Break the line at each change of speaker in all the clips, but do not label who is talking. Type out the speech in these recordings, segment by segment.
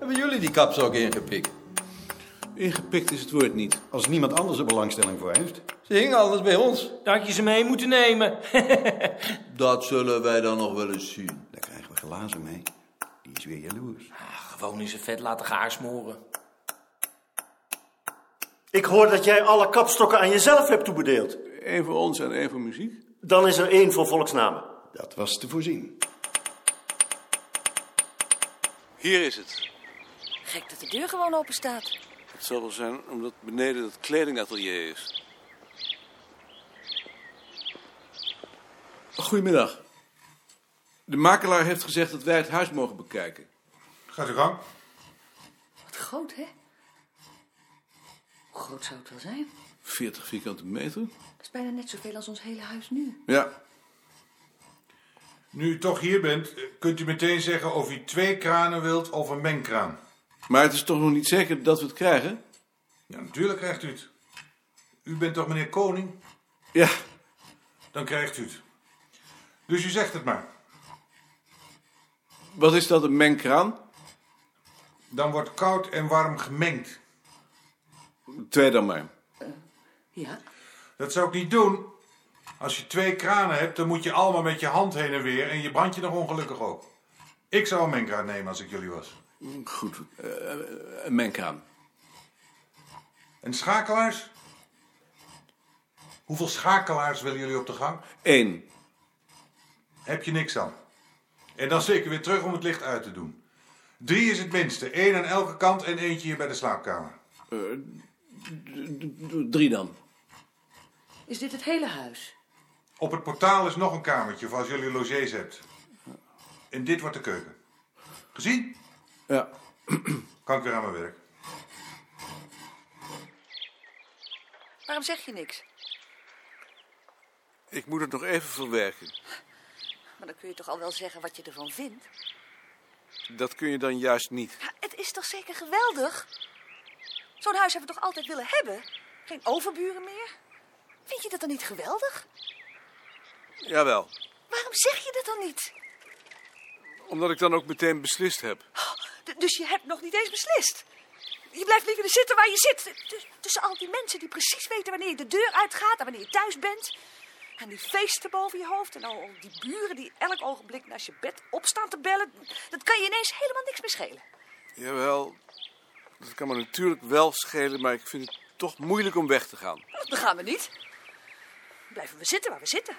mondkapjes ook ingepikt.
Ingepikt is het woord niet.
Als niemand anders er belangstelling voor heeft.
Ze hingen alles bij ons.
Dat had je ze mee moeten nemen.
Dat zullen wij dan nog wel eens zien.
Daar krijgen we glazen mee. Die is weer jaloers.
Gewoon eens een vet laten gaarsmoren.
Ik hoor dat jij alle kapstokken aan jezelf hebt toebedeeld.
Eén voor ons en één voor muziek.
Dan is er één voor volksnamen.
Dat was te voorzien.
Hier is het.
Gek dat de deur gewoon open staat.
Het zal wel zijn omdat beneden dat kledingatelier is. Goedemiddag. De makelaar heeft gezegd dat wij het huis mogen bekijken.
Gaat u gang.
Wat groot, hè? Hoe groot zou het wel zijn?
40 vierkante meter?
Dat is bijna net zoveel als ons hele huis nu.
Ja.
Nu u toch hier bent, eh, kunt u meteen zeggen of u twee kranen wilt of een mengkraan.
Maar het is toch nog niet zeker dat we het krijgen?
Ja, natuurlijk krijgt u het. U bent toch meneer Koning?
Ja.
Dan krijgt u het. Dus u zegt het maar.
Wat is dat, een mengkraan?
Dan wordt koud en warm gemengd.
Twee dan maar.
Ja,
Dat zou ik niet doen. Als je twee kranen hebt, dan moet je allemaal met je hand heen en weer en je brandt je nog ongelukkig ook. Ik zou een mengkraan nemen als ik jullie was.
Goed, eh, een mengkraan.
En schakelaars? Hoeveel schakelaars willen jullie op de gang?
Eén.
Heb je niks aan. En dan zeker weer terug om het licht uit te doen. Drie is het minste. Eén aan elke kant en eentje hier bij de slaapkamer.
Drie dan.
is dit het hele huis?
Op het portaal is nog een kamertje voor als jullie logiers hebt. En dit wordt de keuken. Gezien?
Ja.
Kan ik weer aan mijn werk.
Waarom zeg je niks?
Ik moet het nog even verwerken.
Maar dan kun je toch al wel zeggen wat je ervan vindt?
Dat kun je dan juist niet.
Ja, het is toch zeker geweldig? Zo'n huis hebben we toch altijd willen hebben? Geen overburen meer? Vind je dat dan niet geweldig?
Jawel.
Waarom zeg je dat dan niet?
Omdat ik dan ook meteen beslist heb.
D- dus je hebt nog niet eens beslist. Je blijft liever zitten waar je zit. T- Tussen al die mensen die precies weten wanneer je de deur uitgaat en wanneer je thuis bent. En die feesten boven je hoofd. En al die buren die elk ogenblik naast je bed opstaan te bellen. Dat kan je ineens helemaal niks meer schelen.
Jawel. Dat kan me natuurlijk wel schelen, maar ik vind het toch moeilijk om weg te gaan.
Nou, Dan gaan we niet. Dan blijven we zitten waar we zitten.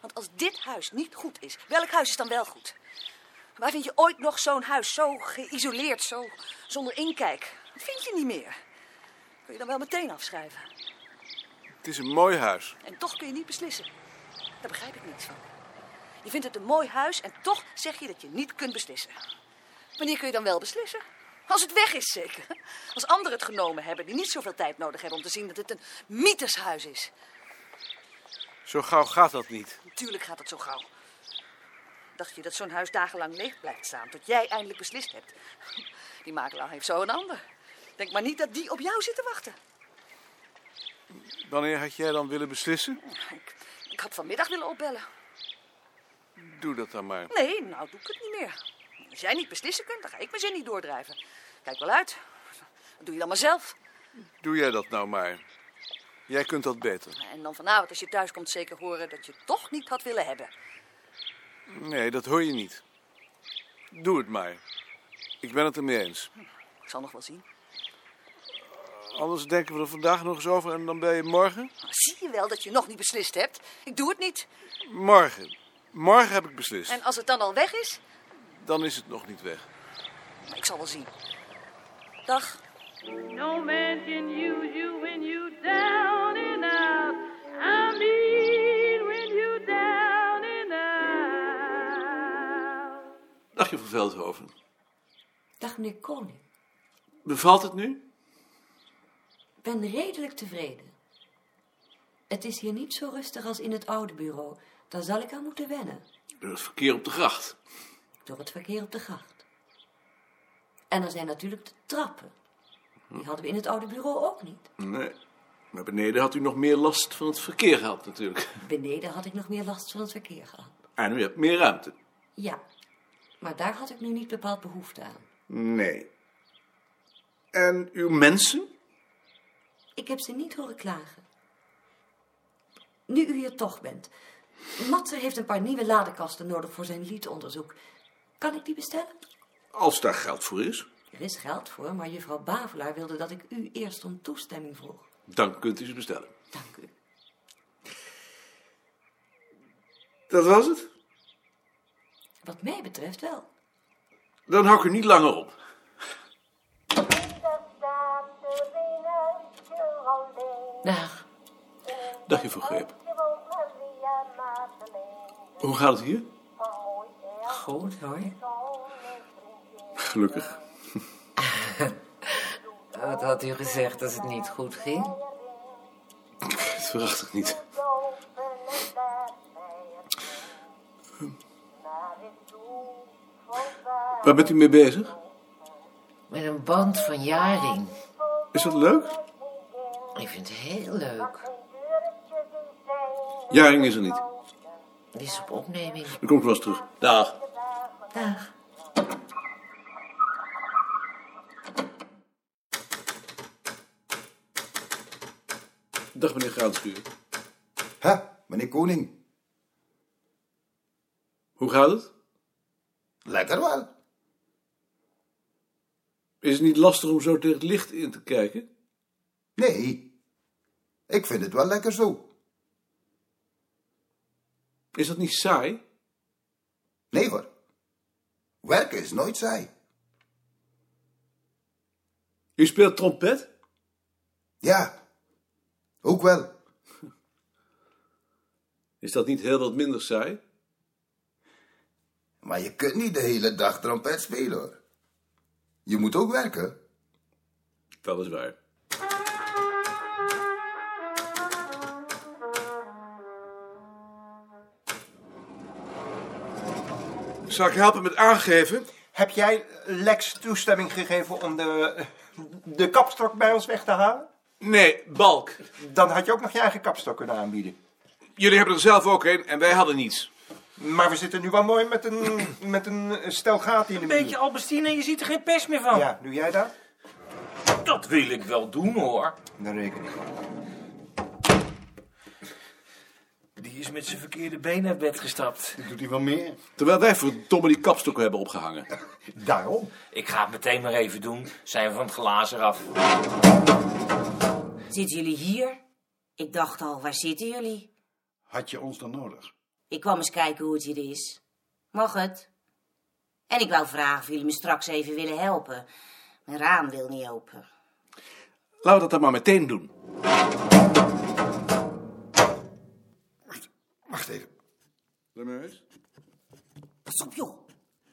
Want als dit huis niet goed is, welk huis is dan wel goed? Waar vind je ooit nog zo'n huis zo geïsoleerd, zo zonder inkijk? Dat vind je niet meer. Kun je dan wel meteen afschrijven.
Het is een mooi huis.
En toch kun je niet beslissen. Daar begrijp ik niets van. Je vindt het een mooi huis en toch zeg je dat je niet kunt beslissen. Wanneer kun je dan wel beslissen? Als het weg is, zeker. Als anderen het genomen hebben die niet zoveel tijd nodig hebben om te zien dat het een mytheshuis is.
Zo gauw gaat dat niet.
Natuurlijk gaat het zo gauw. Dacht je dat zo'n huis dagenlang leeg blijft staan tot jij eindelijk beslist hebt? Die makelaar heeft zo een ander. Denk maar niet dat die op jou zit te wachten.
Wanneer had jij dan willen beslissen?
Ik, ik had vanmiddag willen opbellen.
Doe dat dan maar.
Nee, nou doe ik het niet meer. Als jij niet beslissen kunt, dan ga ik mijn zin niet doordrijven. Kijk wel uit. Dat doe je dan maar zelf.
Doe jij dat nou maar. Jij kunt dat beter.
En dan vanavond, als je thuis komt, zeker horen dat je het toch niet had willen hebben.
Nee, dat hoor je niet. Doe het maar. Ik ben het ermee eens.
Ik zal nog wel zien.
Anders denken we er vandaag nog eens over en dan ben je morgen?
Maar zie je wel dat je nog niet beslist hebt? Ik doe het niet.
Morgen. Morgen heb ik beslist.
En als het dan al weg is,
Dan is het nog niet weg.
ik zal wel zien. Dag.
No man can use you when you down and out. I mean when you down and out.
Dagje van Veldhoven.
Dag meneer Koning.
Bevalt het nu?
Ik ben redelijk tevreden. Het is hier niet zo rustig als in het oude bureau. Daar zal ik aan moeten wennen.
Door het verkeer op de gracht.
Door het verkeer op de gracht. En er zijn natuurlijk de trappen. Die hadden we in het oude bureau ook niet.
Nee. Maar beneden had u nog meer last van het verkeer gehad natuurlijk.
Beneden had ik nog meer last van het verkeer gehad.
En u hebt meer ruimte.
Ja, maar daar had ik nu niet bepaald behoefte aan.
Nee. En uw mensen?
Ik heb ze niet horen klagen. Nu u hier toch bent. Matze heeft een paar nieuwe ladekasten nodig voor zijn liedonderzoek. Kan ik die bestellen?
Als daar geld voor is,
Er is geld voor, maar juffrouw Bavelaar wilde dat ik u eerst om toestemming vroeg.
dan kunt u ze bestellen.
Dank u.
Dat was het?
Wat mij betreft wel.
Dan hou ik u niet langer op.
Nou,
Dag.
Dag, juffrouw Greep. Hoe gaat het hier?
Goed hoor.
Gelukkig.
Wat had u gezegd als het niet goed ging?
Dat verwacht ik niet. Waar bent u mee bezig?
Met een band van jaring.
Is dat leuk?
Ik vind het heel leuk.
Jaring is er niet.
Die is op opneming.
Dan kom ik wel eens terug.
Dag.
Dag.
Dag, meneer Graanschuur.
Hè, meneer Koning?
Hoe gaat het?
Lekker wel.
Is het niet lastig om zo tegen het licht in te kijken?
Nee, ik vind het wel lekker zo.
Is dat niet saai?
Nee hoor, werken is nooit saai.
U speelt trompet?
Ja, ook wel.
Is dat niet heel wat minder saai?
Maar je kunt niet de hele dag trompet spelen hoor. Je moet ook werken.
Wel is waar.
Zal ik helpen met aangeven?
Heb jij Lex toestemming gegeven om de, de kapstok bij ons weg te halen?
Nee, Balk.
Dan had je ook nog je eigen kapstok kunnen aanbieden.
Jullie hebben er zelf ook een en wij hadden niets.
Maar we zitten nu wel mooi met een, met een stel gaten in de
Een
muur.
beetje Albestine en je ziet er geen pest meer van.
Ja, doe jij dat?
Dat wil ik wel doen hoor.
Dan reken ik op.
Die is met zijn verkeerde been uit bed gestapt.
Doet hij wel meer?
Terwijl wij verdomme die kapstokken hebben opgehangen.
Daarom.
Ik ga het meteen maar even doen. Zijn we van het glazen af.
Zitten jullie hier? Ik dacht al, waar zitten jullie?
Had je ons dan nodig?
Ik kwam eens kijken hoe het hier is. Mag het? En ik wou vragen of jullie me straks even willen helpen. Mijn raam wil niet open.
Laten we dat dan maar meteen doen.
Wacht even,
Pas op, joh.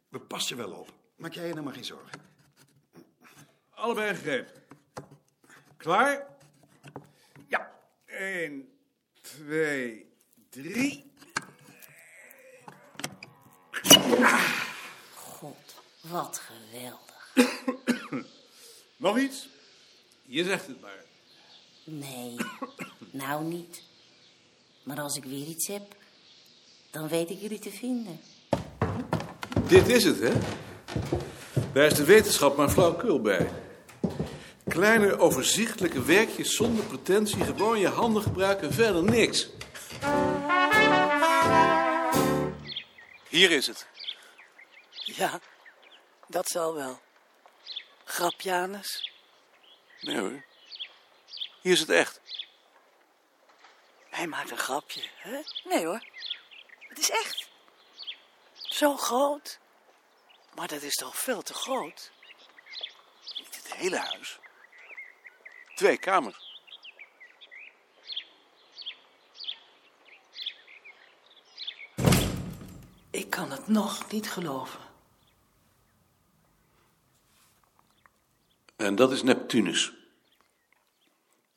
we passen wel op. Maak jij je nou maar geen zorgen.
Allebei gegrepen. Klaar? Ja. 1, 2, 3.
God, wat geweldig.
Nog iets? Je zegt het maar.
Nee, nou niet. Maar als ik weer iets heb, dan weet ik jullie te vinden.
Dit is het, hè? Daar is de wetenschap maar flauwkul bij. Kleine, overzichtelijke werkjes zonder pretentie. Gewoon je handen gebruiken, verder niks. Hier is het.
Ja, dat zal wel. Grap, Janus.
Nee hoor. Hier is het echt.
Hij maakt een grapje, hè? Nee hoor,
Het is echt.
zo groot. Maar dat is toch veel te groot?
Niet het hele huis. Twee kamers.
Ik kan het nog niet geloven.
En dat is Neptunus.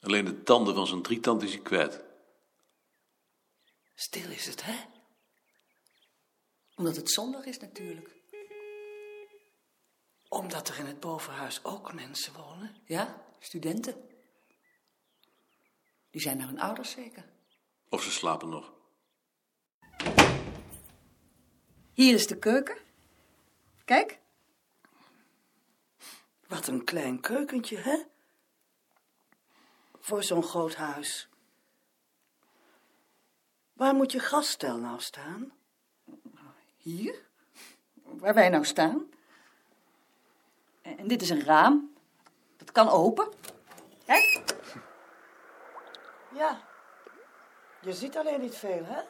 Alleen de tanden van zijn drietand is hij kwijt.
Stil is het, hè?
Omdat het zondag is natuurlijk.
Omdat er in het bovenhuis ook mensen wonen.
Ja, studenten. Die zijn naar hun ouders zeker.
Of ze slapen nog.
Hier is de keuken. Kijk.
Wat een klein keukentje, hè? Voor zo'n groot huis. Waar moet je gaststel nou staan?
Hier? Waar wij nou staan. En en dit is een raam. Dat kan open. Hè?
Ja. Je ziet alleen niet veel, hè?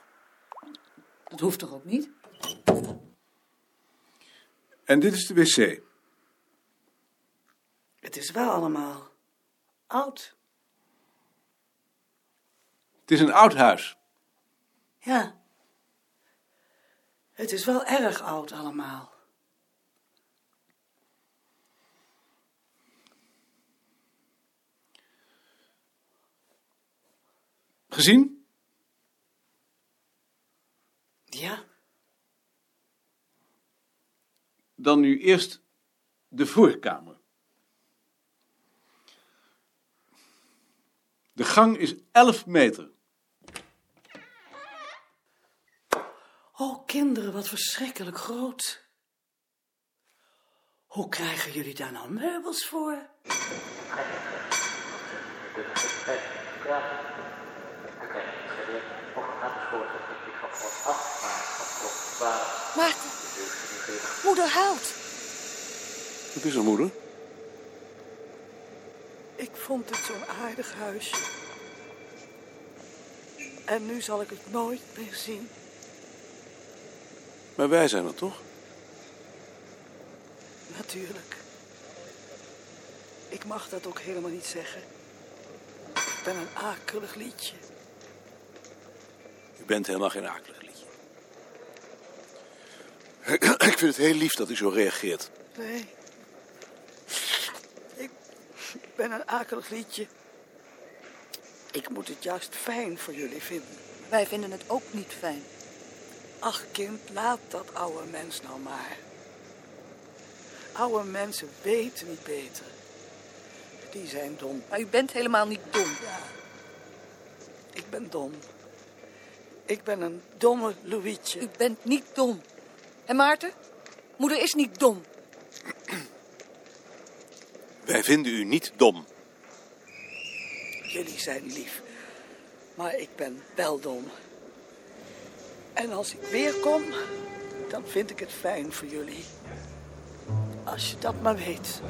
Dat hoeft toch ook niet?
En dit is de wc.
Het is wel allemaal oud.
Het is een oud huis.
Ja. Het is wel erg oud allemaal.
Gezien?
Ja.
Dan nu eerst de voorkamer. De gang is 11 meter.
Oh, kinderen, wat verschrikkelijk groot. Hoe krijgen jullie daar nou meubels voor?
Maarten, moeder huilt.
Wat is er, moeder?
Ik vond het zo'n aardig huisje. En nu zal ik het nooit meer zien.
Maar wij zijn er toch?
Natuurlijk. Ik mag dat ook helemaal niet zeggen. Ik ben een akelig liedje.
U bent helemaal geen akelig liedje. Ik vind het heel lief dat u zo reageert.
Nee. Ik, ik ben een akelig liedje. Ik moet het juist fijn voor jullie vinden.
Wij vinden het ook niet fijn.
Ach kind, laat dat oude mens nou maar. Oude mensen weten niet beter. Die zijn dom.
Maar u bent helemaal niet dom.
Ja. Ik ben dom. Ik ben een domme Louietje.
U bent niet dom. En Maarten? Moeder is niet dom.
Wij vinden u niet dom.
Jullie zijn lief. Maar ik ben wel dom. En als ik weer kom, dan vind ik het fijn voor jullie. Als je dat maar weet.